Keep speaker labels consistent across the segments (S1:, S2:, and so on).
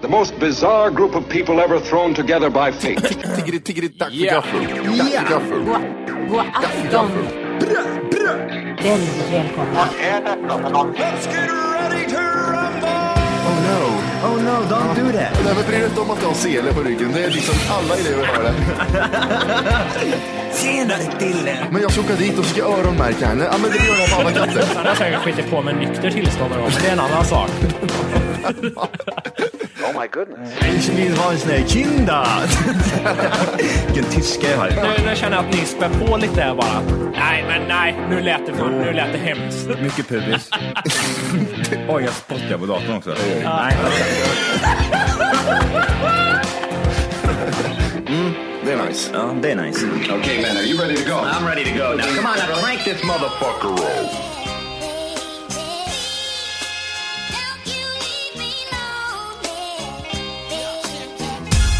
S1: The most bizarre group of people ever thrown together by fate.
S2: Tiggeri, tiggeri, tack för gaffel. Tack för gaffel.
S3: God afton! Väldigt välkomna.
S2: Oh no.
S4: Oh no, don't do that!
S2: Nej, men bry dig inte om att du har sele på ryggen. Det är liksom alla elever har det.
S4: Tjenare Dille!
S2: Men jag ska åka dit och ska öronmärka henne. Ja, men det gör jag på alla katter.
S5: Han har säkert skitit på med nykter tillstånd någon gång, men det är en annan sak.
S4: Ich vill ha en sån här Kinder! Vilken tyska jag har.
S5: Nu, nu känner jag att ni spär på lite här bara. Nej, men nej. Nu lät det, för, nu lät det hemskt.
S6: Mycket pubis. Oj, jag spottar på datorn också.
S2: Det är nice.
S6: Ja, det är nice.
S1: okay, man, are you ready to go?
S6: I'm ready to go now. Come on, now crank this motherfucker roll.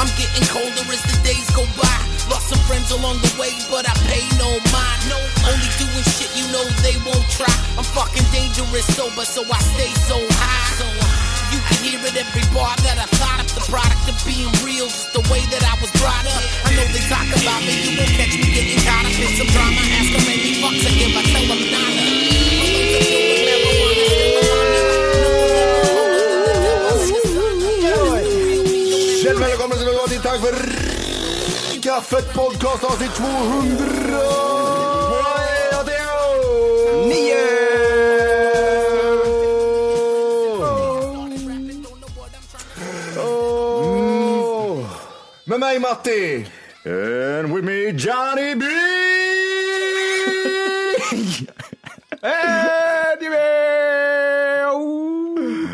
S7: I'm getting colder as the days go by. Lost some friends along the way, but I pay no mind. No, only doing shit you know they won't try. I'm fucking dangerous sober, so I stay so high. So high. You can hear it every bar that I thought up. The product of being real, just the way that I was brought up. I know they talk about me, you won't catch me getting caught up in some drama. Ask them any fucks I give, I tell them nada. My lungs are filled with marijuana, still
S2: Kjell, välkommen ska du vara till Tack för kaffet podcast avsnitt 200. Nio! Oh. Med mig Matti! And with me Johnny B! Anyway!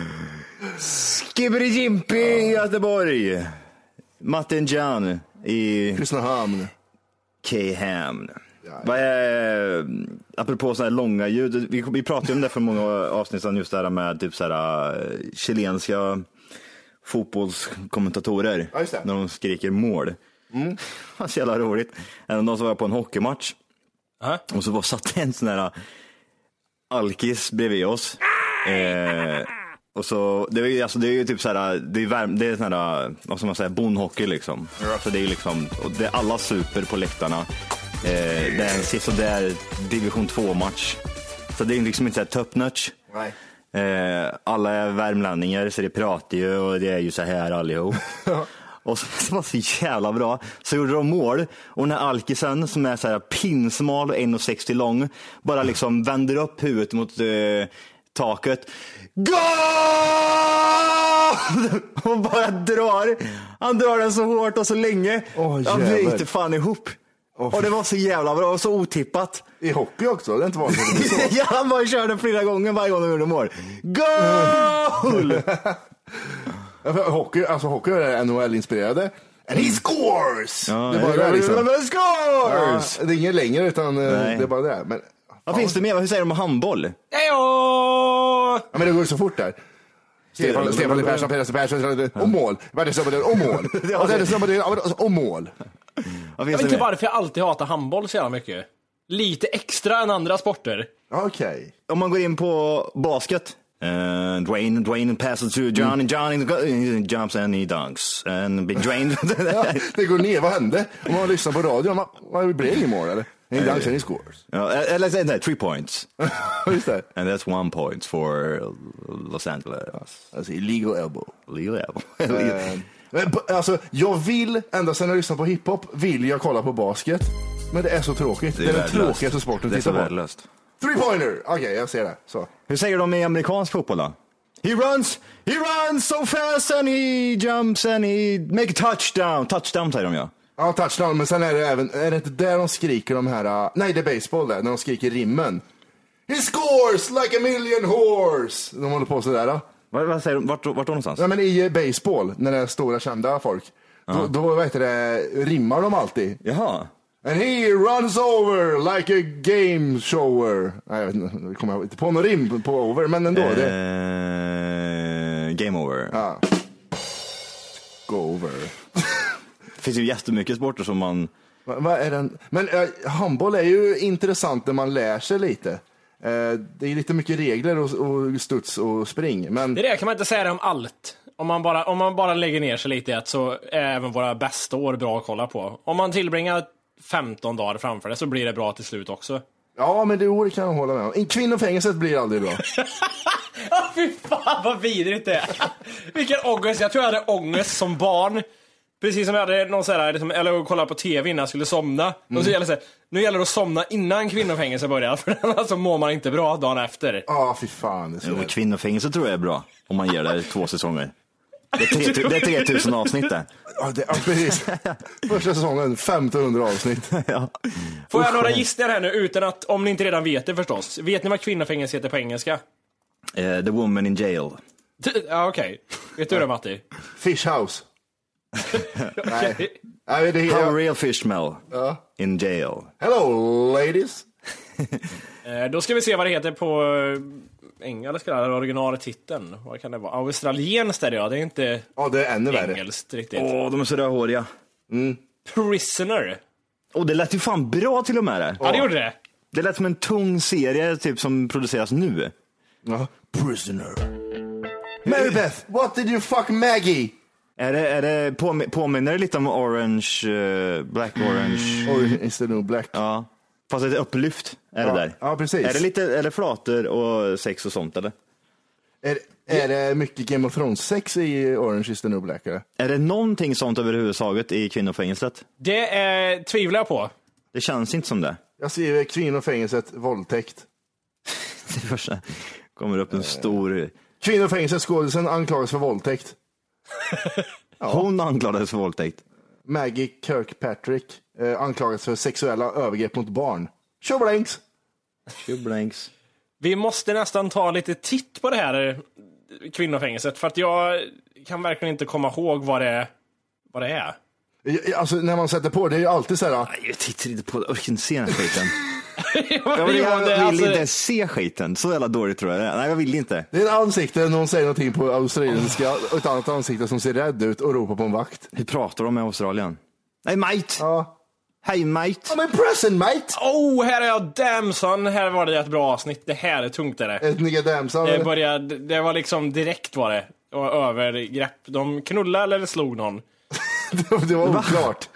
S6: Skibberjimpi i Göteborg. Matten Jan i
S2: Kristinehamn.
S6: K-Hamn. Vad är, eh, apropå sådana här långa ljud, vi, vi pratade ju om det för många avsnitt sedan, just det här med typ så här, eh, chilenska fotbollskommentatorer.
S2: Ja, just det.
S6: När de skriker mål. Mm. så jävla roligt. En dag så var jag på en hockeymatch. Och så var satt en sån här alkis bredvid oss. Eh, och så, det, är, ju- alltså, det är ju typ såhär, det är, värm, det är sån här, vad ska man säga, bonhockey liksom. Så det är ju liksom, och det är alla super på läktarna. Eh, det är en sisådär division 2-match. Så det är liksom inte såhär top notch.
S2: Nej.
S6: Eh, alla är värmlänningar så det pratar ju och det är ju så här allihop. och så, det var så jävla bra. Så gjorde de mål och den här alkisen som är så här pinsmal och 1,60 lång bara liksom vänder upp huvudet mot eh, taket. Goal! och bara drar. Han drar den så hårt och så länge.
S2: Åh,
S6: Han bryter
S2: jävlar.
S6: fan ihop. och det var så jävla bra och så otippat.
S2: I hockey också, det är inte vanligt. att det blir så.
S6: ja, han bara körde flera gånger varje gång de gjorde mål. Goal!
S2: Ja, för Hockey, alltså hockey är NHL-inspirerade. And he scores!
S6: Ja,
S2: det är liksom- bara det liksom. Ja,
S6: Scores!
S2: det är inget längre utan eh,
S6: Nej.
S2: det är bara det. Men,
S6: Vad finns det mer? Hur säger de om handboll?
S2: ja, men det går ju så fort där. Stefan, Stefan Lill Persson, Persson, Persson, Persson, och mål. Världens snabbare, och mål. Och sen är det snabbare, ja, men alltså, Och mål.
S6: Vad
S5: Jag
S6: finns
S5: vet inte
S6: det mer?
S5: varför jag alltid hatar handboll så jävla mycket. Lite extra än andra sporter.
S2: Ja, Okej.
S6: Om man går in på basket. Mm. Eh, Dwayne, Dwayne passes to John, and John he eh, jumps and he dunks. And big Dwayne.
S2: Ja, det går ner, vad hände? Om man lyssnar på radion, vad- vad- det blir inget mål eller? And he dunks and he scores.
S6: Ja, eh, eller säg nej, three points.
S2: Just det.
S6: And that's one point for Los Angeles.
S2: Alltså illegal elbow.
S6: Legal elbow.
S2: Eh, men på- alltså, jag vill, ända sedan jag lyssnade på hiphop, vill jag kolla på basket. Men det är så tråkigt. Det är, den
S6: värdelöst.
S2: tråkigaste sporten
S6: Det
S2: att
S6: är så
S2: titta på.
S6: värdelöst.
S2: Three pointer! Okej, jag ser det. Så.
S6: Hur säger de i amerikansk fotboll då? He runs, he runs so fast and he jumps and he make a touchdown. Touchdown säger de ja.
S2: Ja, touchdown. Men sen är det även, är det inte där de skriker de här, uh, nej det är baseball där, när de skriker rimmen. He scores like a million horse! De håller på sådär. Uh.
S6: Vad, vad säger de? Vart, vart då någonstans?
S2: Nej men i eh, baseball, när det är stora kända folk, då, då vet du, det, rimmar de alltid.
S6: Jaha.
S2: And he runs over like a game shower. Nej, jag vet inte, jag kommer inte på någon rim på over, men ändå. Det,
S6: Eh, game over.
S2: go over.
S6: Det finns ju jättemycket sporter som man...
S2: Va, vad är den? Men eh, handboll är ju intressant när man lär sig lite. Eh, det är lite mycket regler och, och studs och spring. Men
S5: Det där kan man inte säga det om allt. Om man, bara, om man bara lägger ner sig lite i ett så är även våra bästa år bra att kolla på. Om man tillbringar 15 dagar framför det så blir det bra till slut också.
S2: ja, men det ordet kan jag hålla med om. I Kvinnofängelset blir aldrig bra.
S5: Ja, fy fan vad vidrigt det är. Vilken ångest. Jag tror jag hade ångest som barn. Precis som jag hade någon sån här, liksom, eller att kolla på TV innan jag skulle somna. Och så gäller det så här, nu gäller det att somna innan kvinnofängelse börjar, för annars så mår man inte bra dagen efter.
S2: Ja, fy fan. Det är så
S6: Jo, kvinnofängelse tror jag är bra. Om man ger det två säsonger. Det är, tre, det är 3000 avsnitt där.
S2: Ja, det, ja, precis. Första säsongen, 1500 avsnitt.
S6: Ja.
S5: Får jag några gissningar här nu, utan att, om ni inte redan vet det förstås. Vet ni vad kvinnofängelse heter på engelska?
S6: Eh, the woman in jail.
S5: T- Ja, okej. Vet du det Matti?
S2: Fish house.
S5: Okej.
S2: Nej, det,
S6: How a
S2: ja.
S6: real fish smell in jail.
S2: Hello ladies.
S5: Eh, Då ska vi se vad det heter på eh, engelska, eller originaltiteln. Vad kan det vara? Australienskt är det ja, det är inte
S2: Ja, det är ännu värre.
S5: engelskt riktigt.
S6: Åh, de är så rödhåriga.
S5: Prisoner.
S6: Och det lät ju fan bra till och med det.
S5: Ja, det gjorde det.
S6: Det lät som en tung serie typ som produceras nu.
S2: Ja. Prisoner. Mary Beth, what did you fuck Maggie?
S6: Är det, är det, påmi- påminner det lite om Orange, eh, Black
S2: Mm.
S6: Orange?
S2: Or is it no black?
S6: Ja. Fast ett upplyft är
S2: Ja,
S6: det där.
S2: ja, precis.
S6: Är det lite, är det flator och sex och sånt eller?
S2: Är, är det mycket Game of Thrones-sex i Orange is the new black? Eller?
S6: Är det någonting sånt överhuvudtaget i kvinnofängelset?
S5: Det eh, tvivlar jag på.
S6: Det känns inte som det.
S2: Jag skriver kvinnofängelset, våldtäkt.
S6: Det första kommer
S2: Eh,
S6: upp en stor...
S2: Kvinnofängelset, skådisen anklagas för våldtäkt.
S6: Hon anklagades för våldtäkt.
S2: Maggie Kirkpatrick eh, anklagas för sexuella övergrepp mot barn. Tjoblängs!
S6: Blanks.
S5: Vi måste nästan ta lite titt på det här eh, kvinnofängelset, för att jag kan verkligen inte komma ihåg vad det, vad det är.
S2: I- i- Alltså när man sätter på det är ju alltid så här.
S6: Nej, Jag tittar inte på det, jag orkar inte se den här skiten.
S5: Vad
S6: Jag vill,
S5: gör
S6: jag
S5: det?
S6: vill
S5: Alltså,
S6: inte ens se skiten, så jävla dåligt tror jag det är. Nej, jag vill inte.
S2: Det är ett ansikte, någon säger någonting på australienska och ett annat ansikte som ser rädd ut och ropar på en vakt.
S6: Hur pratar de med Australien? Nej, mate!
S2: Ja.
S6: Hej, mate!
S2: I'm in prison mate!
S5: Oh, här är jag Damson! Här var det ett bra avsnitt. Det här är tungt är det.
S2: Ett nigga damsam.
S5: Det, började, det var liksom direkt var det. Och övergrepp. De knullade eller slog någon.
S2: Det var oklart.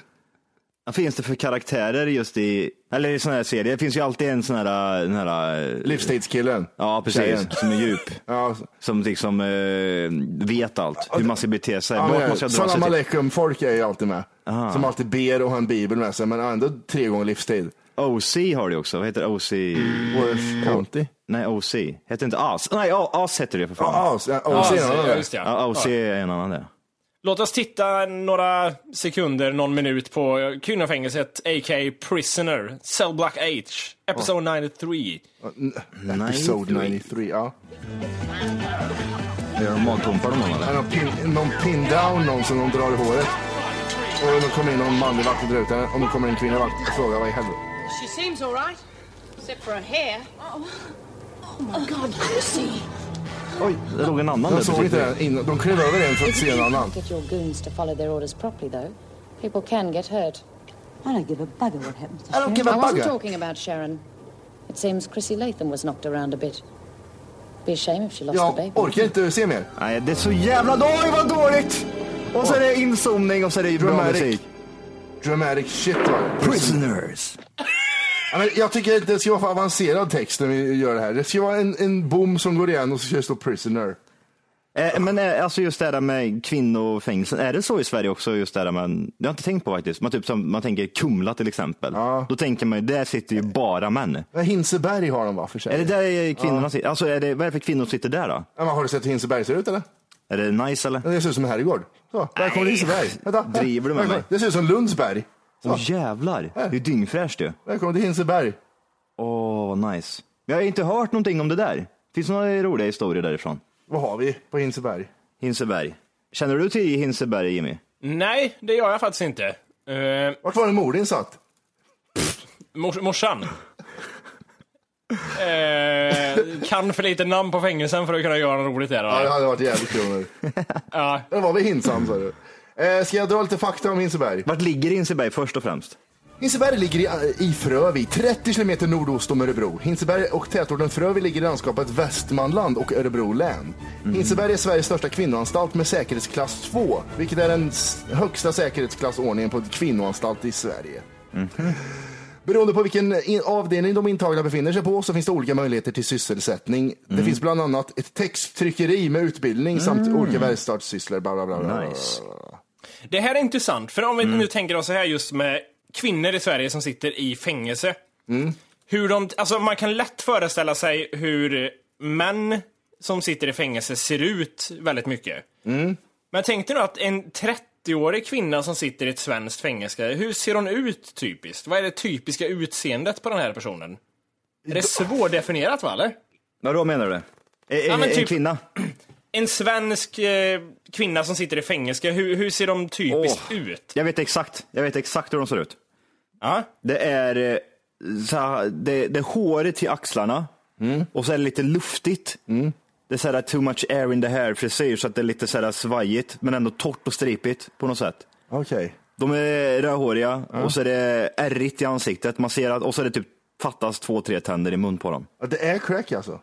S6: Vad finns det för karaktärer just i, eller i sådana här serier? Det finns ju alltid en sån här, den här eh,
S2: Livstidskillen. alltså,
S6: ja precis,
S2: Tjejen.
S6: som är djup.
S2: Ja,
S6: Som liksom eh, vet allt, hur man ska bete sig.
S2: Ja,
S6: Vart
S2: men,
S6: måste jag dra sig
S2: Salam
S6: till?
S2: aleikum-folk är ju alltid med. Som alltid ber och har en bibel med sig, men ändå tre gånger livstid.
S6: OC har det också, vad heter det? OC? Mm.
S2: Worth County.
S6: Nej, OC. Heter inte AS? Nej, A- AS heter det för fan.
S2: Ja, as- ja, och sen har de
S5: ja,
S2: det.
S5: just det, ja.
S6: Ja, OC är en annan där.
S5: Låt oss titta några sekunder, någon minut på Kvinnofängelset, a.k.a. Prisoner, Cell Block H, Episode 93.
S2: Episode 93, ja.
S6: Gör de magpumpar de någon
S2: Är
S6: eller?
S2: någon pin, någon pin down någon som de drar i håret. Och då kommer in någon manlig vakt och drar ut henne. Om det kommer in en kvinnlig vakt och frågar vad i helvete.
S8: She seems all right, except for her hair.
S6: Oj, det låg en annan
S2: De
S6: där.
S2: såg
S6: precis.
S2: inte den innan. De klev över en för att se en annan.
S8: Get your goons to follow their orders properly, though. People can get hurt. I don't give a bugger what happens.
S2: I don't give a
S8: I wasn't
S2: bugger.
S8: talking about Sharon. It seems Chrissy Latham was knocked around a bit. Be a shame if she lost the
S2: Jag
S8: baby.
S2: orkar inte se mer.
S6: Nej, det är så jävla dåligt, vad dåligt! Och så är det inzoomning och så är det bra
S2: Dramatic.
S6: musik.
S2: Dramatic shit var det.
S6: Prisoners.
S2: Ja, men jag tycker inte det ska vara för avancerad text när vi gör det här. Det ska vara en, en bom som går igen och så ska det stå prisoner.
S6: Eh, Men eh, alltså just det där med kvinnofängelsen, är det så i Sverige också? just det där med, Jag har inte tänkt på faktiskt. Man, typ, som, man tänker Kumla till exempel. Då tänker man ju, där sitter ju bara män.
S2: Men Hinseberg har de va för sig?
S6: Är det där kvinnorna sitter? Alltså är det, vad är det för kvinnor som sitter där då?
S2: Ja, men har du sett hur Hinseberg ser ut eller?
S6: Är det nice eller?
S2: Det ser ut som en herrgård. Så, där kommer Hinseberg. Vänta, här.
S6: Driver du med
S2: Där kommer-
S6: mig?
S2: Det ser ut som Lundsberg.
S6: Åh jävlar, det är ju dyngfräscht ju.
S2: Där kommer det Hinseberg.
S6: Åh, vad nice. Jag har inte hört någonting om det där. Finns det några roliga historier därifrån?
S2: Vad har vi på Hinseberg?
S6: Hinseberg. Känner du till Hinseberg Jimmy?
S5: Nej, det gör jag faktiskt inte. Eh,
S2: Vart var det mor din satt?
S5: mors- morsan. Eh, kan för lite namn på fängelsen för att kunna göra något roligt där.
S2: Ja, det
S5: va?
S2: hade varit jävligt kul nu.
S5: Ja.
S2: Det var väl Hinsam sa du. Eh, ska jag dra lite fakta om Hinseberg?
S6: Vart ligger Hinseberg först och främst?
S2: Hinseberg ligger i, i Frövi, 30 kilometer nordost om Örebro. Hinseberg och tätorten Frövi ligger i landskapet Västmanland och Örebro län.
S6: Mhm.
S2: Hinseberg är Sveriges största kvinnoanstalt med säkerhetsklass 2, vilket är den s- högsta säkerhetsklassordningen på en kvinnoanstalt i Sverige.
S6: Mhm.
S2: Beroende på vilken in- avdelning de intagna befinner sig på så finns det olika möjligheter till sysselsättning.
S6: Mhm.
S2: Det finns bland annat ett texttryckeri med utbildning samt olika verkstadssysslor. Bla, bla, bla, bla.
S6: Mm. Nice.
S5: Det här är intressant, för om vi
S6: Mm.
S5: nu tänker oss så här just med kvinnor i Sverige som sitter i fängelse.
S6: Mm.
S5: Hur de, alltså man kan lätt föreställa sig hur män som sitter i fängelse ser ut väldigt mycket.
S6: Mm.
S5: Men tänk dig nu att en 30-årig kvinna som sitter i ett svenskt fängelse, hur ser hon ut typiskt? Vad är det typiska utseendet på den här personen? Är det svårdefinierat va, eller?
S6: Vad då menar du? En,
S5: Ja,
S6: en,
S5: men
S6: en
S5: typ-
S6: kvinna?
S5: En svensk eh, kvinna som sitter i fängelse, hur, hur ser de typiskt
S6: Åh.
S5: ut?
S6: Jag vet exakt. Jag vet exakt hur de ser ut.
S5: Ja.
S6: Det är, eh, så här, det, det är håret till axlarna
S5: Mm.
S6: och så är det lite luftigt. Det är så här, too much air in the hair frisyr så att det är lite så här svajigt men ändå torrt och stripigt på något sätt.
S2: Okej.
S6: De är rödhåriga och så är det ärrigt i ansiktet. Man ser att, och så är det typ fattas två, tre tänder i mun på dem.
S2: Ja, Det är crack alltså?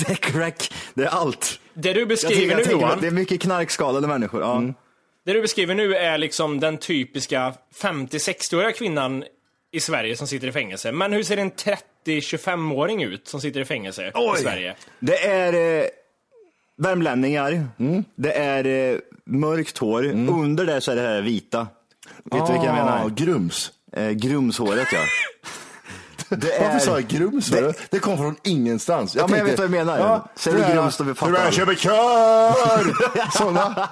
S6: det är crack. Det är allt.
S5: Det du
S6: Jag tänker-
S5: beskriver
S6: jag
S5: nu
S6: tänker att
S5: Johan, Mm.
S6: det är mycket knarkskadade människor. Ja.
S5: Det du beskriver nu är liksom den typiska 50-60-åriga kvinnan i Sverige som sitter i fängelse. Men hur ser en 30-25-åring ut som sitter i fängelse i Sverige?
S6: Det är eh, värmlänningar, Mm. det är eh, mörkt hår,
S2: Mm.
S6: under det så är det här vita. Vet du vilka jag menar?
S2: Ah, Grums.
S6: Eh, grumshåret ja. Det är...
S2: Varför sa jag grums? Det, det kom från ingenstans.
S6: Ja, men jag vet vad jag menar. Säger du grums, då fattar alla.
S2: kör! Sådana,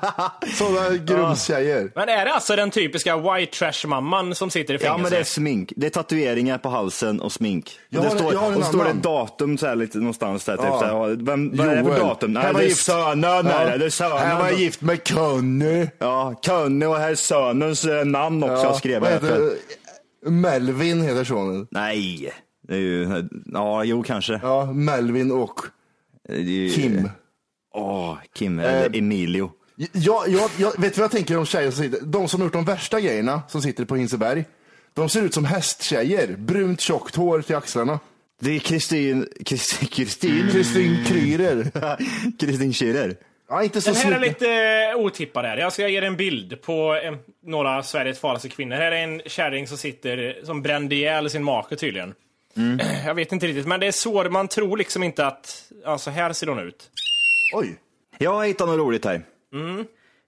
S2: sådana grumstjejer.
S5: Men är det alltså den typiska white trash-mamman som sitter i
S6: Ja
S5: fängelse?
S6: men det är smink, det är tatueringar på halsen och smink.
S2: Jag
S6: det
S2: har-
S6: står,
S2: jag har en
S6: och står det
S2: annan.
S6: datum så här lite någonstans där. Typ,
S2: Ja.
S6: så här, ja, vem, vad är det för
S2: Joel.
S6: datum? Nej,
S2: Han var
S6: det är
S2: gift.
S6: sönen. är
S2: Ja.
S6: det, Det är sönen.
S2: Han var gift med Conny.
S6: Ja, Conny och herr sönens eh, namn också
S2: Ja,
S6: jag skrev
S2: vad
S6: jag.
S2: heter det? Melvin heter sonen.
S6: Nej, det är ju, ja jo kanske.
S2: Ja, Melvin och
S6: Det är ju-
S2: Kim.
S6: Åh, Kim, eller Emilio.
S2: Jag, jag, jag, vet du vad jag tänker om tjejer som sitter? De som har gjort de värsta grejerna som sitter på Hinseberg. De ser ut som hästtjejer. Brunt tjockt hår till axlarna.
S6: Det är Kristin, Kristin, Kristin,
S2: Kristin Kryrer.
S6: Kristin Schürrer.
S2: Ja, inte så
S5: Den här är
S2: snygg.
S5: lite eh, otippad här. Jag ska ge er en bild på en, några av Sveriges farligaste kvinnor. Här är en kärring som sitter som brände ihjäl sin make tydligen.
S6: Mm.
S5: Jag vet inte riktigt, men det är så man tror liksom inte att, alltså här ser hon ut.
S2: Oj.
S6: Jag har hittat något roligt här. Mm.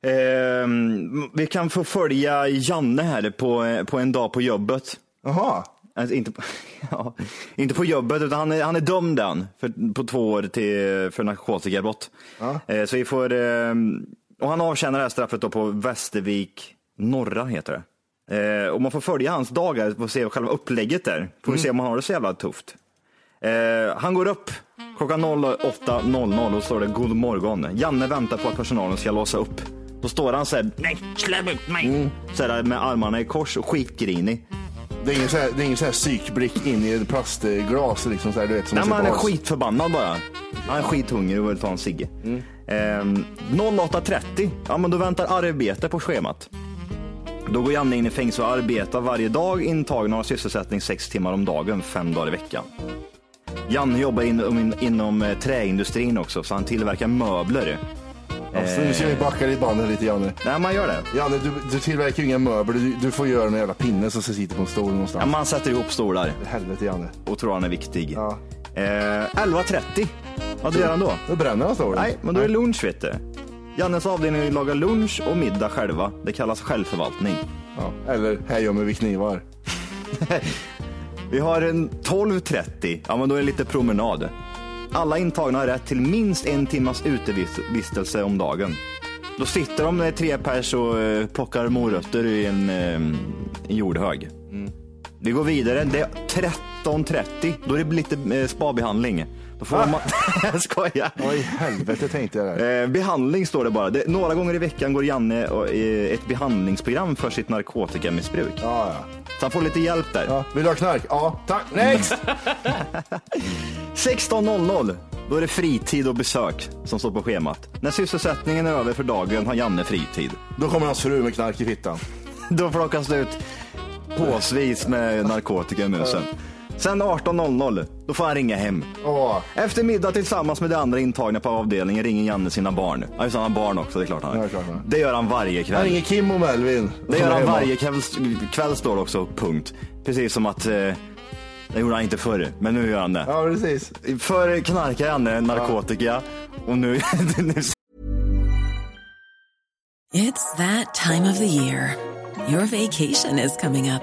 S6: Ehm, vi kan få följa Janne här på, på en dag på jobbet.
S2: Jaha.
S6: Alltså, inte, på, ja, inte på jobbet, utan han är, han är dömd än för, på två år till, för narkotikabrott. Eh, så vi får, ehm, och han avtjänar det här straffet då på Västervik norra heter det. Eh, och man får följa hans dagar och se själva upplägget där. Får vi se om han har det så jävla tufft. Eh, han går upp klockan 08.00 och står det god morgon. Janne väntar på att personalen ska låsa upp. Då står han så här, nej släpp ut mig. Så här med armarna i kors och skitgrinig.
S2: Det är ingen så här, det är ingen så här psykblick in i ett plastglas liksom så här, du vet. Som
S6: Nej,
S2: man
S6: men
S2: ser
S6: han
S2: på oss.
S6: är skitförbannad bara. Han är skithungrig och vill ta en cigg. Ehm, 08.30, ja men då väntar arbete på schemat. Då går Janne in i fängelse och arbetar varje dag. Intagna har sysselsättning sex timmar om dagen, fem dagar i veckan. Janne jobbar in, in, inom eh, träindustrin också, så han tillverkar möbler.
S2: Alltså, nu ska vi backa ditt bandet lite Janne.
S6: Nej, man gör det.
S2: Janne, du, du tillverkar ju inga möbler. Du, du får göra en jävla pinne som sitter på en stol någonstans.
S6: Ja, man sätter ihop stolar.
S2: Helvete Janne.
S6: Och tror han är viktig. Eh, 11.30. Vad
S2: Du-
S6: gör han då?
S2: Då bränner han stolen.
S6: Nej, men då är det lunch vet du. Jannes avdelning lagar lunch och middag själva. Det kallas självförvaltning.
S2: Ja. Eller, här gömmer vi knivar.
S6: Vi har en 12.30. Ja, men då är det lite promenad. Alla intagna har rätt till minst en timmas utevistelse om dagen. Då sitter de där tre pers och eh, plockar morötter i en eh, jordhög. Vi går vidare. Det är 13.30. Då är det lite eh, spabehandling. Då får man... jag skojar.
S2: Oj, helvete tänkte jag där.
S6: Eh, behandling står det bara. Det, några gånger i veckan går Janne och, eh, ett behandlingsprogram för sitt narkotikamissbruk.
S2: Ja, ja.
S6: Så han får lite hjälp där.
S2: Ja, vill du ha knark? Ja, tack. Next!
S6: 16.00, då är det fritid och besök som står på schemat. När sysselsättningen är över för dagen har Janne fritid.
S2: Då kommer hans fru med knark i fittan.
S6: Då plockas det ut påsvis med narkotika i musen. Sen 18.00, då får han ringa hem.
S2: Åh,
S6: Efter middag tillsammans med de andra intagna på avdelningen ringer Janne sina barn. Ja, just det, han har barn också, det är klart han
S2: Ja, det
S6: har.
S2: är klart han har.
S6: Det gör han varje kväll.
S2: här ringer Kim och Melvin.
S6: Det gör
S2: Kommer
S6: han
S2: hem och-
S6: varje kväll, kväll står det också, punkt. Precis som att eh, det gjorde han inte förr, men nu gör han det.
S2: Ja, precis.
S6: Förr knarkade han eh, narkotika och nu... nu
S9: It's that time of the year. Your vacation is coming up.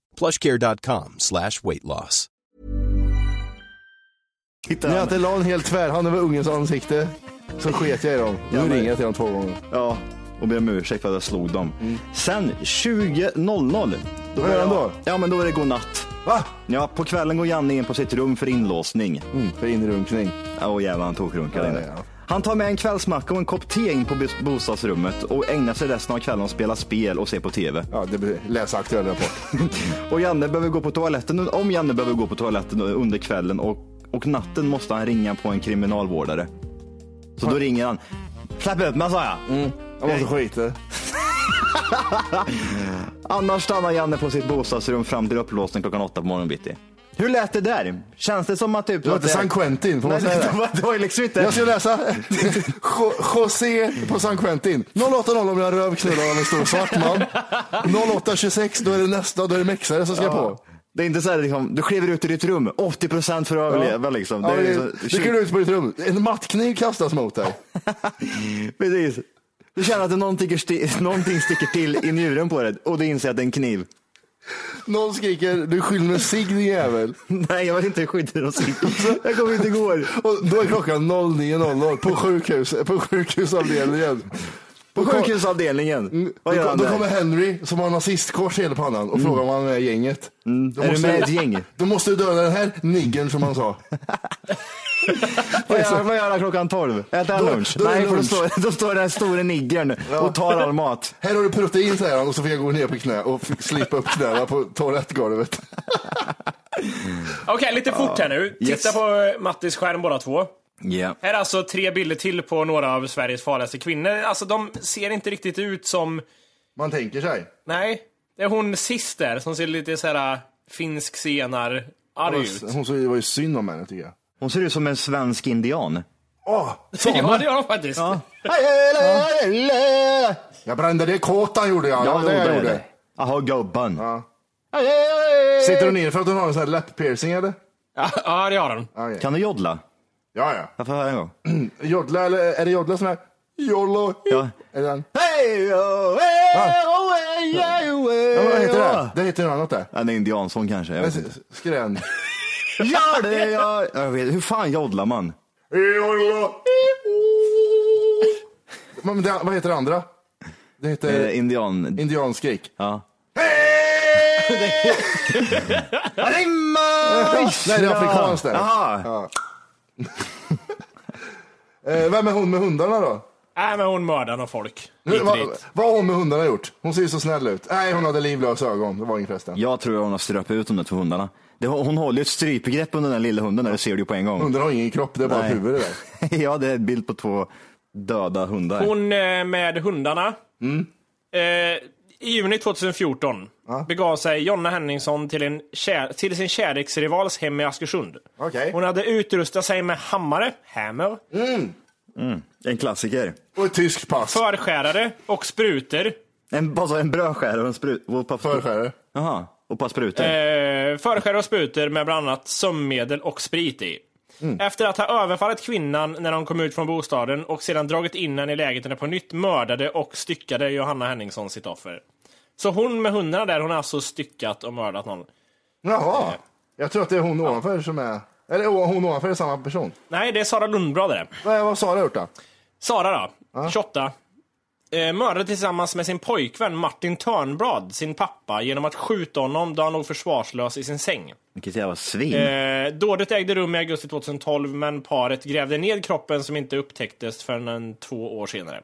S10: Plushcare.com slash weight loss.
S2: När jag inte la en hel tvärhand över ungens ansikte så sket jag i dem. Nu
S6: Ja, men-
S2: ringer jag till dem två gånger.
S6: ja, och ber om ursäkt för att jag slog dem. Sen 20.00. Då
S2: Vad gör han Mm. då?
S6: Ja, men då är det godnatt.
S2: Va?
S6: Ja, på kvällen går Janne in på sitt rum för inlåsning.
S2: Mm, för inrunkning.
S6: Åh jävlar, han tokrunkade
S2: Ja,
S6: inne.
S2: ja.
S6: Han tar med en kvällsmacka och en kopp te in på bos- bostadsrummet och ägnar sig resten av kvällen åt att spela spel och se på TV.
S2: Ja, det blir läsa aktuell rapport.
S6: Och Janne behöver gå på toaletten. Om Janne behöver gå på toaletten under kvällen och, och natten måste han ringa på en kriminalvårdare. Så då ringer han. Släpp ut mig sa jag.
S2: Jag måste skita.
S6: Annars stannar Janne på sitt bostadsrum fram till upplåsning klockan åtta på morgonen bitti. Hur lät det där? Känns det som att typ...
S2: Det var inte San Quentin, får man
S6: Nej,
S2: säga
S6: det?
S2: det?
S6: var- Det var ju liksom inte...
S2: Jag ska läsa Jo- José på San Quentin. 08.00 om jag röv knullar av en stor svart man. 08.26 då är det nästa, då är det mexare som ska på.
S6: Det är inte så här liksom, du kliver ut i ditt rum, 80% för att överleva liksom.
S2: Ja,
S6: Det är
S2: det,
S6: liksom-
S2: det kliver ut på ditt rum, en mattkniv kastas mot dig.
S6: Precis. Du känner att det någonting, sti- någonting sticker till i njuren på dig och du inser att det är en kniv.
S2: Någon skriker, du är skyldig med sig din jävel.
S6: Nej, jag vill inte skydda någon sikt. Jag kom hit igår.
S2: Och då är klockan 09.00 på, sjukhus, på sjukhusavdelningen.
S6: På
S2: Då kom-
S6: sjukhusavdelningen. Vad gör
S2: Mm, då,
S6: han
S2: då kommer
S6: där?
S2: Henry som har nazistkors i hela pannan och frågar om han är med i gänget. Då
S6: Är du med i ett gäng?
S2: Då måste du döda den här niggern som han sa.
S6: Vad gör, vad gör han klockan 12? Äter han
S2: Då-
S6: lunch?
S2: då är det
S6: Nej, för då
S2: lunch.
S6: står, då står den här store niggern och tar all mat.
S2: Här har du protein säger han och så får jag gå ner på knä och f- slipa upp knäna på toalettgolvet.
S5: Okej, lite fort här nu.
S6: Yes.
S5: Titta på Mattis skärm båda två.
S6: Ja.
S5: Här är alltså tre bilder till på några av Sveriges farligaste kvinnor. Alltså de ser inte riktigt ut som...
S2: Man tänker sig.
S5: Nej. Det är hon sist där som ser lite så här äh, finsk senar arg ut.
S2: Hon så- det var ju synd om henne tycker jag.
S6: Hon ser ut som en svensk indian.
S2: Åh,
S5: Ja,
S2: samer!
S5: det gör hon faktiskt.
S2: Jag brände det kåtan gjorde jag. Ja, det jag gjorde.
S6: Jaha, gubben.
S2: Sitter du ner för att hon har en sån här läpppiercing eller?
S5: Ja, ja, det har hon.
S2: Okej.
S6: Kan du joddla?
S2: Ja, ja.
S6: Jag får höra en gång.
S2: Jodla, eller är det jodla som är? YOLO.
S6: Ja.
S2: Är det den?
S6: Hej, oh,
S2: Ja.
S6: hey, oh, hey, yeah, oh, hey,
S2: Ja, vad heter
S6: oh.
S2: det? Det heter något annat det.
S6: Ja, det är indiansång kanske. Jag vet
S2: Men
S6: inte.
S2: s- Skrän.
S6: Gör det! Jag, jag vet, hur fan joddlar man?
S2: YOLO. Men det, vad heter det andra? Det heter
S6: Eh, indian...
S2: indianskrik.
S6: Ja.
S2: Rimma! Nej, det är afrikanskt där.
S6: Jaha.
S2: Ja. Eh, Vem är hon med hundarna då?
S5: Nej, Äh, men hon mördar någon folk.
S2: Nu,
S5: Hit och
S2: vad,
S5: dit.
S2: vad har hon med hundarna gjort? Hon ser ju så snäll ut. Nej, hon hade livlösa ögon. Det var ingen förresten.
S6: Jag tror hon har ströpat ut de där två hundarna. Det, hon håller ju ett strypgrepp under den lilla hunden där, det ser du ju på en gång.
S2: Hundarna har ingen kropp, det är bara
S6: Nej.
S2: huvudet där.
S6: ja, det är en bild på två döda hundar.
S5: Hon eh, med hundarna.
S2: Mm.
S5: Eh, I juni 2014 begav sig Jonna Henningsson till, en kär, till sin kärleksrivals hem i Askersund.
S2: Okej.
S5: Hon hade utrustat sig med hammare, hammer,
S6: Mm. En klassiker.
S2: Och ett tyskt pass.
S5: förskärare och sprutor.
S6: En, alltså en brödskärare och en sprut... Och ett par
S2: Förskärare.
S6: Jaha, och ett par sprutor.
S5: Eh, förskär och sprutor med bland annat sömnmedel och sprit i. Efter att ha överfallit kvinnan när hon kom ut från bostaden och sedan dragit in henne i lägenheten på nytt mördade och styckade Johanna Henningsson sitt offer. Så hon med hundarna där, hon har alltså styckat och mördat någon.
S2: Jaha. Jag tror att det är hon ovanför som är... Eller o- hon ovanför är samma person.
S5: Nej, det är Sara Lundblad det.
S2: Vad, vad sa du gjort då?
S5: Sara då, 28. Eh, mördade tillsammans med sin pojkvän Martin Törnblad sin pappa genom att skjuta honom då han låg försvarslös i sin säng.
S6: Vilket jävla svin.
S5: Eh, dådet ägde rum i augusti 2012 men paret grävde ned kroppen som inte upptäcktes förrän en två år senare.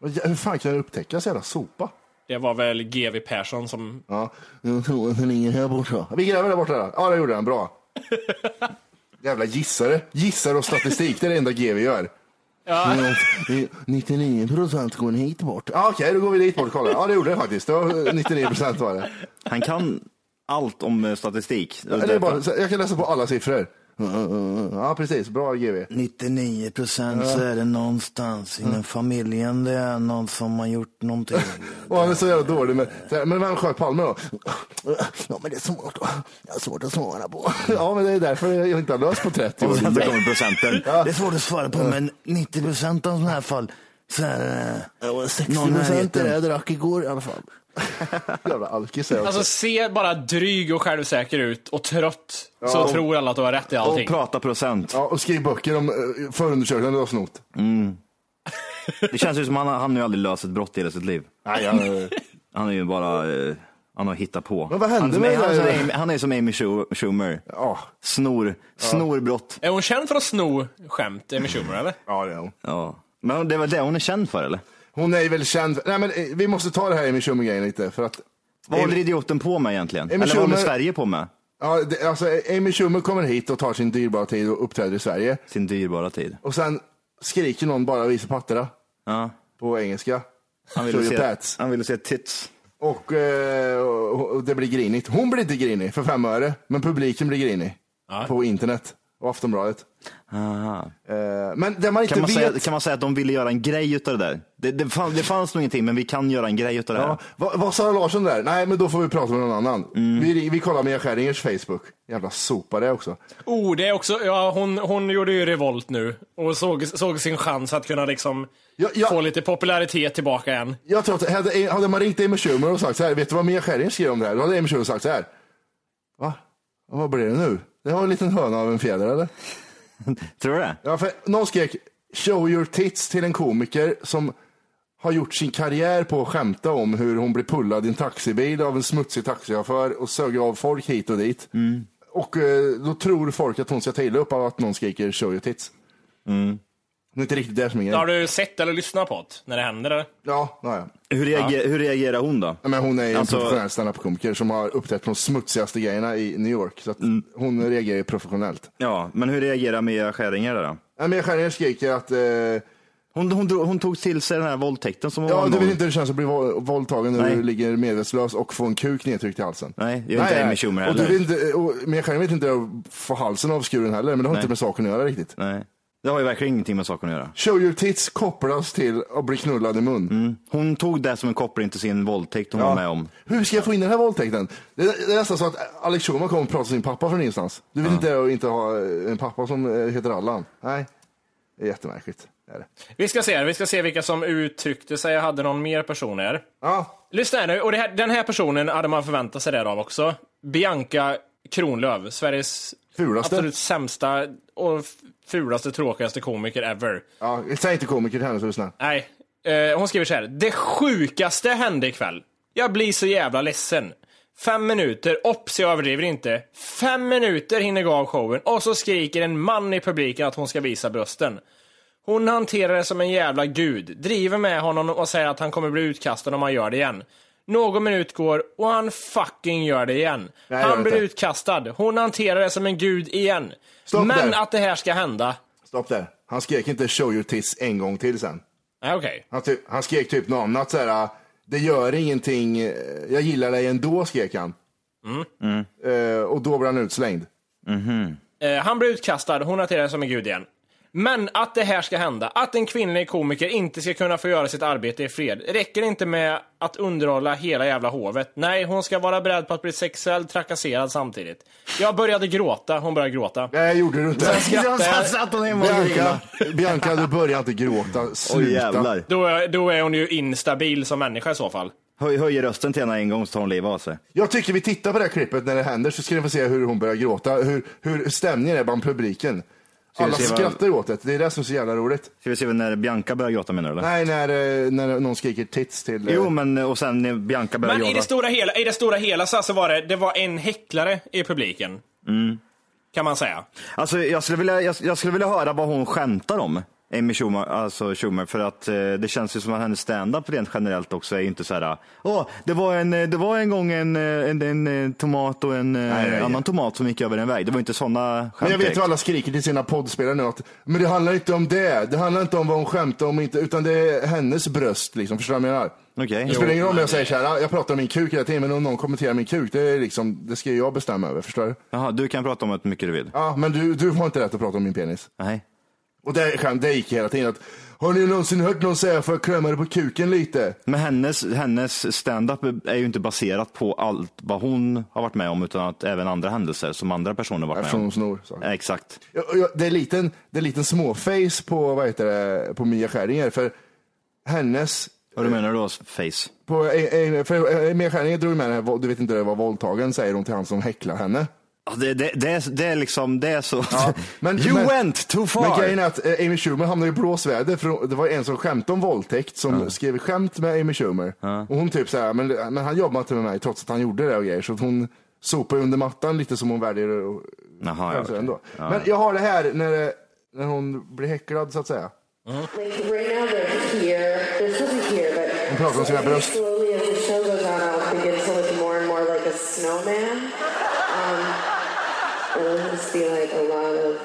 S2: Vad jä- Hur fan kan jag upptäcka så jävla sopa?
S5: Det var väl GV Persson som...
S2: Ja, jag tror att den ligger här borta. Vi gräver där borta. Där. Ja, det gjorde den. Bra. Jävla gissare. Gissar och statistik, det är det enda GV gör. alltså,
S5: Ja,
S2: 99 procent går hit bort. Ja, Okej, då går vi dit bort och kollar. Ja, det gjorde det faktiskt. Det var 99 procent var det.
S6: Han kan allt om eh, statistik.
S2: det är bara, så jag kan läsa på alla siffror. Ja, precis. Bra GV.
S4: 99 procent så är det någonstans inom familjen det är någon som har gjort någonting.
S2: Och han är så jävla dålig. Men, så här, men vem sköt Palme då?
S4: ja men det är svårt, jag har svårt att svara på.
S2: Ja, men det är därför jag inte har löst på 30
S6: Och sen så
S2: år.
S6: kommer procenten.
S4: Det är svårt att svara på men 90 procent av sådana här fall så är det någon
S2: 60
S4: i
S2: procent är det
S4: närheten.
S2: jag drack igår i alla fall. Jävla alkis är jag också.
S5: alltså se bara dryg och självsäker ut och trött. så
S2: och-
S5: tror alla att du har rätt i
S6: Och
S5: allting.
S6: prata procent.
S2: Ja, och skriv böcker om eh, förundersökningen du har snott.
S6: Det känns ju som han, han har ju aldrig löst ett brott i hela sitt liv.
S2: Nej, jag... eh,
S6: Han är ju bara, eh, han har hittat på.
S2: Men vad hände
S6: han, är
S2: med
S6: som- han, är
S2: det
S6: som
S2: där?
S6: Amy- han är som Amy Schu- Schumer.
S2: Ja.
S6: Snor, snor brott.
S5: Är hon känd för att sno skämt, Amy Schumer, eller?
S2: ja, det är hon.
S6: Ja. Men det är väl det hon är känd för eller?
S2: Hon är väl känd. Nej, men eh, vi måste ta det här Amy Schumer-grejen lite. För att,
S6: Vad
S2: Amy-
S6: håller idioten på med egentligen?
S2: Amy
S6: eller vad håller
S2: Schumer-
S6: Sverige på med?
S2: ja, det, alltså, Amy Schumer kommer hit och tar sin dyrbara tid och uppträder i Sverige.
S6: Sin dyrbara tid.
S2: Och sen skriker någon bara visa patterna
S6: Ja.
S2: på engelska.
S6: Han
S2: Show
S6: ville,
S2: your
S6: se,
S2: pats.
S6: han ville se tits.
S2: Och, eh, och, och det blir grinigt. Hon blir inte grinig för fem öre, men publiken blir grinig. På internet och Aftonbladet.
S6: Aha.
S2: Eh, men det man inte
S6: Kan man,
S2: vet...
S6: säga, kan man säga att de ville göra en grej utav det där? Det, det, fanns, det fanns nog ingenting, men vi kan göra en grej utav det här.
S2: Ja, vad, vad sa Larsson där? Nej, men då får vi prata med någon annan.
S6: Mm.
S2: Vi, ring- vi kollar Mia Skäringers Facebook. Jävla sopare också.
S5: Oh, det är också, ja, hon, hon gjorde ju revolt nu och såg, såg sin chans att kunna liksom
S2: Ja, ja.
S5: få lite popularitet tillbaka igen.
S2: Jag tror att hade, hade man ringt Amy Schumer och sagt så här, vet du vad Mia Skäringer skrev om det här? Då hade Amy Schumer sagt så här. Va? Ja, Vad blir det nu? Det var en liten höna av en fjäder eller?
S6: Tror du det?
S2: Ja, för någon skrek show your tits till en komiker som har gjort sin karriär på att skämta om hur hon blir pullad i en taxibil av en smutsig taxichaufför och sög av folk hit och dit. Och eh, då tror folk att hon ska ta illa upp av att någon skriker show your tits. Det är inte riktigt det som är
S5: Har
S2: grejen.
S5: du sett eller lyssnat på det när det händer? Eller?
S2: Ja, ja, ja.
S6: Hur, reager, hur reagerar hon då?
S2: Men hon är ju en
S6: Alltså-
S2: professionell standup-komiker som har uppträtt på de smutsigaste grejerna i New York. Så att hon reagerar ju professionellt.
S6: Ja, men hur reagerar Mia Skäringer där då?
S2: Nej, Men jag Skäringer skriker att eh,
S6: Hon, hon, drog, hon tog till sig den här våldtäkten som hon
S2: ja,
S6: var
S2: du
S6: någon-
S2: vill inte hur det känns att bli våld- våldtagen när
S6: Nej.
S2: du ligger medvetslös och får en kuk nedtryckt i halsen.
S6: Nej, det gör inte Amy Schumer
S2: och du
S6: heller.
S2: vill inte, och Mia Skäringer vet inte att få halsen avskuren heller, men det har inte med saken att göra riktigt.
S6: Nej. Det har ju verkligen ingenting med saken att göra.
S2: Show your tits kopplas till att bli knullad i mun.
S6: Hon tog det som en koppling till sin våldtäkt hon var med om.
S2: Hur ska jag få in den här våldtäkten? Det det är nästan så att Alex Schulman kommer och pratar med sin pappa från eh, ingenstans. Du vill inte, inte ha en pappa som eh, heter Allan? Nej, det är jättemärkligt. är det.
S5: Vi ska se, vi ska se vilka som uttryckte sig. Jag hade någon mer personer.
S2: Ja.
S5: Lyssna här nu, och det här, den här personen hade man förväntat sig det av också. Bianca Kronlöf, Sveriges
S2: Fulaste.
S5: absolut sämsta och f- fulaste, tråkigaste komiker ever.
S2: Ja, säg inte komiker till henne så är du snäll.
S5: Nej, eh, hon skriver så här. Det sjukaste hände ikväll. Jag blir så jävla ledsen. Fem minuter, obs jag överdriver inte. Fem minuter hinner gå av showen och så skriker en man i publiken att hon ska visa brösten. Hon hanterar det som en jävla gud, driver med honom och säger att han kommer bli utkastad om han gör det igen. Någon minut går och han fucking gör det igen.
S2: Nej, jag
S5: han
S2: vet
S5: blir
S2: inte.
S5: utkastad, hon hanterar det som en gud igen.
S2: Stopp
S5: Men
S2: där.
S5: att det här ska hända.
S2: Stopp där. Han skrek inte show your tits en gång till sen.
S5: Nej, okej.
S2: Han, ty- han skrek typ något annat så här. Det gör ingenting, eh, jag gillar dig ändå, skrek han.
S6: Mm.
S2: Eh, och då blev han utslängd.
S5: Eh, han blir utkastad, hon hanterar det som en gud igen. Men att det här ska hända, att en kvinnlig komiker inte ska kunna få göra sitt arbete i fred, räcker inte med att underhålla hela jävla hovet. Nej, hon ska vara beredd på att bli sexuellt trakasserad samtidigt. Jag började gråta, hon började gråta.
S2: Nej, gjorde du inte.
S5: Skrattar.
S4: Satt hon hemma och
S2: Bianca,
S4: grina?
S2: Bianca, du börjar inte gråta. Sluta.
S6: jävlar.
S5: Då, är- då är hon ju instabil som människa i så fall.
S6: Höj, höjer rösten till henne en gång så tar hon livet av sig.
S2: jag tycker vi tittar på det här klippet när det händer så ska ni få se hur hon börjar gråta. Hur, hur stämningen är bland publiken.
S6: Ska vi
S2: Alla
S6: se vad-
S2: skrattar åt det. Det är det som är så jävla roligt.
S6: Ska vi se när Bianca börjar gråta menar du? eller?
S2: Nej, när, eh, när någon skriker tits till... eh,
S6: Jo, men och sen när Bianca börjar
S5: Men i
S6: gråta.
S5: det stora hela, i det stora hela så alltså var det, det var en häcklare i publiken. Kan man säga.
S6: Alltså, jag, skulle vilja, jag, jag skulle vilja höra vad hon skämtar om, Amy Schumer, alltså Schumer för att eh, det känns ju som att hennes stand-up rent generellt också är ju inte så här, åh, det var en, eh, det var en gång en, eh, en, en, eh, tomat och en eh,
S2: Nej, nej,
S6: annan
S2: nej.
S6: tomat som gick över en väg. Det var inte sådana skämt.
S2: Men jag vet
S6: direkt.
S2: hur alla skriker till sina poddspelare nu att men det handlar inte om det. Det handlar inte om vad hon skämtar om inte, utan det är hennes bröst liksom. Förstår du vad jag menar?
S6: Okej.
S2: Det spelar ingen roll om jag säger så här, jag pratar om min kuk hela tiden, men om någon kommenterar min kuk, det, är liksom, det ska ju jag bestämma över. Förstår du?
S6: Jaha, du kan prata om hur mycket du vill.
S2: Ja, men du, du har inte rätt att prata om min penis.
S6: Nej.
S2: Och det, skämt, det gick hela tiden att, har ni någonsin hört någon säga får jag klämma dig på kuken lite?
S6: Men hennes, hennes stand-up är ju inte baserat på allt vad hon har varit med om utan att även andra händelser som andra personer varit med
S2: Eftersom
S6: om.
S2: de snor. Så.
S6: Ja, Exakt.
S2: Ja, och jag- Det är liten, det är liten småface på, vad heter det, på Mia Skäringer, för hennes
S6: Vad du menar då, face?
S2: På, eh, eh, för eh, Mia Skäringer drog med henne, du vet inte det var våldtagen, säger hon till han som häcklar henne.
S6: Ja, Det, det, det, är, det är liksom, det är så.
S2: men-
S6: you
S2: men-
S6: went too far!
S2: Men grejen är att eh, Amy Schumer hamnade i blåsväder, för det var en som skämtade om våldtäkt som skrev skämt med Amy Schumer. Och hon typ såhär, men, men han jobbar inte med mig trots att han gjorde det och grejer. Så att hon sopar under mattan lite som hon väljer att
S6: Jaha, ja,
S2: skämta
S6: okej.
S2: Alltså, ändå. Men jag har det här när, det- när hon blir häcklad så att säga.
S11: Right now they're here. They're supposed to be here, but
S2: pratar om sina bröst.
S11: slowly as the show goes on, I'll begin to look more and more like a snowman. Um, it'll just be like a lot of.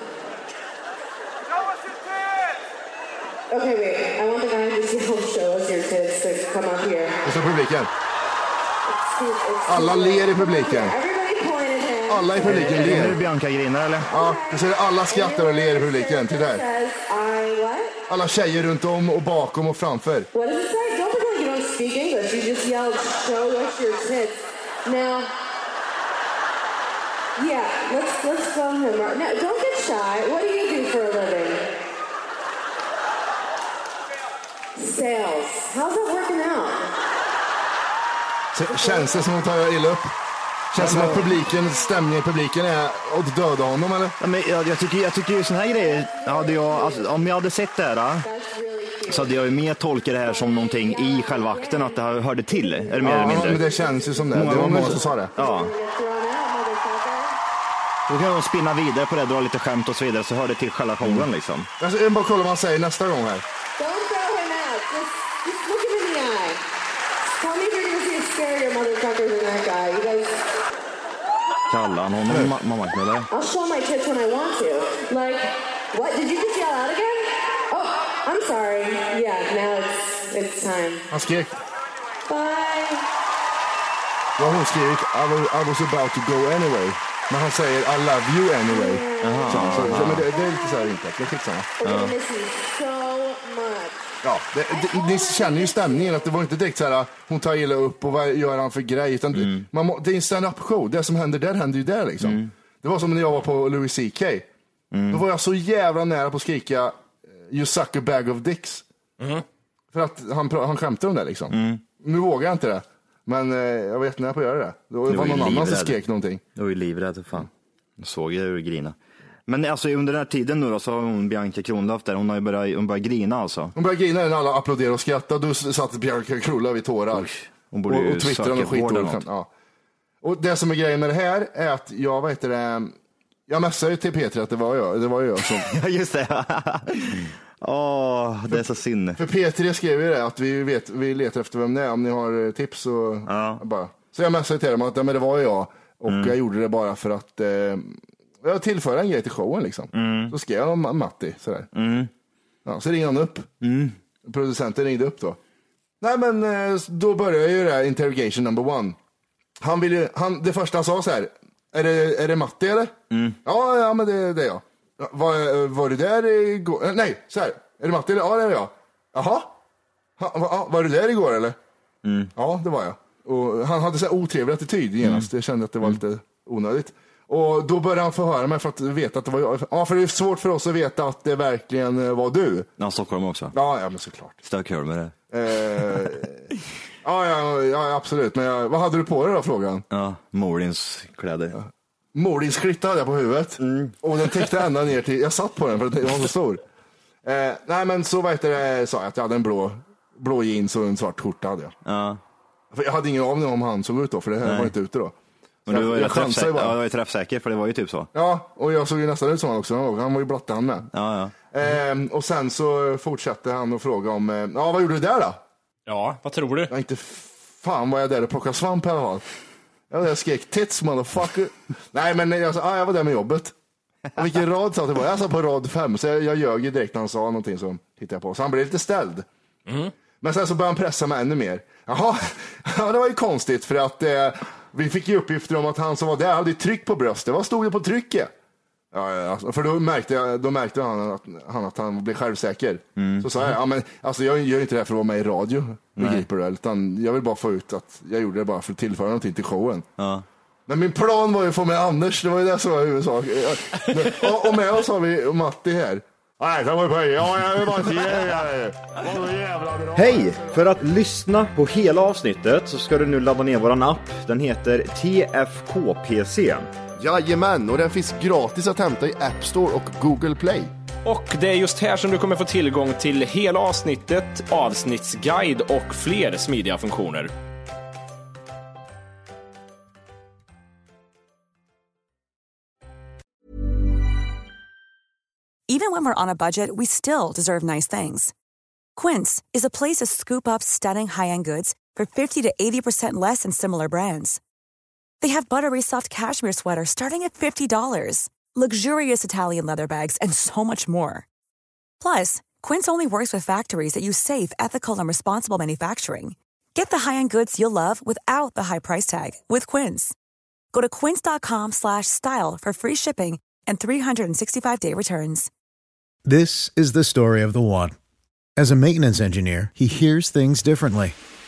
S11: Okay, wait. I want the guy who's help show us your kids to come up here.
S2: Och så publiken.
S11: Excuse, excuse
S2: Alla
S11: me.
S2: ler i publiken.
S11: Everybody point at him.
S2: Alla i publiken
S6: Är det nu
S2: ler.
S6: Bianca grinar eller?
S2: Ja, du ser alla skrattar och ler i publiken. Titta här.
S11: Says I what?
S2: Alla tjejer runt om och bakom och framför.
S11: What does it say? Don't pretend you don't speak English. You just yelled, show us your tits. Now, yeah, let's let's film him. Right. Now, don't get shy. What do you do for a living? Sales. How's it working out?
S2: Så Känns det som att hon tar illa upp? Känns det som att publiken, stämningen i publiken är att döda honom eller?
S6: Ja, men jag, jag tycker, jag tycker ju sådana här grejer, hade jag, alltså, om jag hade sett det här så hade jag ju mer tolkat det här som någonting i själva akten, att det här hörde till. Är det mer eller
S2: Ja,
S6: mindre?
S2: men det känns ju som det. Det var
S6: gånger
S2: många
S6: så-
S2: som sa det.
S6: Ja.
S11: Get thrown out, motherfucker.
S6: Då kan de spinna vidare på det, dra lite skämt och så vidare, så hör det till själva showen liksom.
S2: Alltså, jag vill bara kolla vad han säger nästa gång här.
S11: Don't throw him out. Just just look him in the eye. Tell me if you're gonna see a scarier motherfucker than that guy. You guys.
S6: Kallar han honom ma- mammaknullare?
S11: I'll show my tits when I want to. Like, what? Did you just yell out again? Oh, I'm sorry. Yeah, now it's it's time.
S2: Han skrek,
S11: Bye.
S2: vad har hon skrivit? I was, I was about to go anyway. Men han säger I love you anyway. Så, så, så, men det, det är lite så här enkelt, men skitsamma.
S11: We're gonna miss you so much.
S2: Ja, det, det, ni känner ju stämningen att det var inte direkt så här hon tar illa upp och vad gör han för grej. Utan det, man må, det är en stand-up show, det som händer där händer ju där liksom. Det var som när jag var på Louis CK. Då var jag så jävla nära på att skrika eh, You suck a bag of dicks. För att han, pra- han skämtade om det liksom. Nu vågar jag inte det. Men eh, jag var jättenära på att göra det. Det var,
S6: Du var ju
S2: någon annan som
S6: livrädd.
S2: skrek någonting.
S6: Jag var ju livrädd, för fan. Jag såg ju hur du grina. Men alltså under den här tiden nu då, så har hon Bianca Kronlöf där, hon har ju börjat, hon börjat grina alltså.
S2: Hon började grina när alla applåderade och skrattade. Då satt Bianca Krulla vid tårar.
S6: hon borde
S2: och,
S6: ju
S2: och twittrade
S6: söka
S2: med skit.
S6: vård eller
S2: och-
S6: något.
S2: Ja. Och det som är grejen med det här är att jag, vad heter det, jag messade ju till Peter att det var jag, det var jag som...
S6: Ja, just det. Åh, det är så sinne.
S2: För P3 skrev ju det, att vi, vet, vi letar efter vem det är, om ni har eh, tips och bara. Så jag messade till dem att ja, men det var ju jag och jag gjorde det bara för att eh, jag tillförde en grej till showen liksom. Så skrev jag om Matti sådär. Ja, så ringde han upp. Producenten ringde upp då. Nej men eh, då börjar ju det här interrogation number one. Han vill ju, han, det första han sa så här, är det, är det Matti eller? Ja, ja men det, det är jag. "Ja, Var, var du där igår? Eh, Nej, så här, är det Matti eller? Ja det är jag. Jaha? Ha, va, ja, var du där igår eller? Ja, det var jag. Och han hade så här otrevlig attityd genast, jag kände att det var lite onödigt. Och då började han förhöra mig för att veta att det var jag. Ja, för det är svårt för oss att veta att det verkligen eh, var du.
S6: Ja, Stockholm också.
S2: Ja, ja men såklart.
S6: Stökholmare.
S2: Eh, ja, ja, ja, absolut. Men jag, vad hade du på dig då, frågan?
S6: Ja, Morins kläder.
S2: Mordingsskrytta hade jag på huvudet.
S6: Mm.
S2: Och den täckte ända ner till, jag satt på den för att den var så stor. Eh, nej, men så vet jag, sa jag att jag hade en blå, blå jeans och en svart skjorta. Hade jag.
S6: Ja.
S2: För jag hade ingen aning om hur han såg ut då, för det här
S6: Nej.
S2: var inte ute då.
S6: Men du var ju,
S2: jag chansade
S6: träffsäker.
S2: ju bara.
S6: Ja, du var ju träffsäker, för det var ju typ så.
S2: Ja, och jag såg ju nästan ut som han också. Han var ju blatte han med.
S6: Ja, ja. Mm.
S2: Ehm, och sen så fortsatte han att fråga om, eh, ja vad gjorde du där då?
S5: Ja, vad tror du?
S2: Ja, inte fan var jag där och plockade svamp i alla fall. Jag var där och skrek tits motherfucker. Nej men jag sa, ah, jag var där med jobbet. Och vilken rad satt det på? Jag satt på rad fem, så jag, jag ljög ju direkt när han sa någonting så tittade jag på. Så han blev lite ställd. Men sen så började han pressa mig ännu mer. Jaha, ja, det var ju konstigt för att eh, vi fick ju uppgifter om att han som var där hade ju tryck på bröstet. Vad stod det på trycket? Ja, ja, alltså, för då märkte, jag, då märkte han, att, han att han blev självsäker. Så sa jag, ja, men, alltså, jag gör ju inte det här för att vara med i radio, begriper du? Utan jag vill bara få ut att jag gjorde det bara för att tillföra någonting till showen.
S6: Ja.
S2: Men min plan var ju att få med Anders, det var ju det som var huvudsaken. Jag- Och, och med oss har vi Matti här. Nej, det var ju på Ja, jag vill bara säga det.
S6: Hej! För att lyssna på hela avsnittet så ska du nu ladda ner våran app. Den heter TFKPC.
S2: Jajamän, och den finns gratis att hämta i App Store och Google Play.
S5: Och det är just här som du kommer få tillgång till hela avsnittet, avsnittsguide och fler smidiga funktioner.
S12: Even when we're on a budget, we still deserve nice things. Quince is a place to scoop up stunning high-end goods for 50 to 80% less than similar brands. They have buttery soft cashmere sweaters starting at $50, luxurious Italian leather bags, and so much more. Plus, Quince only works with factories that use safe, ethical, and responsible manufacturing. Get the high-end goods you'll love without the high price tag with Quince. Go to quince.com/style slash style for free shipping and 365-day returns.
S13: This is the story of the one. As a maintenance engineer, he hears things differently.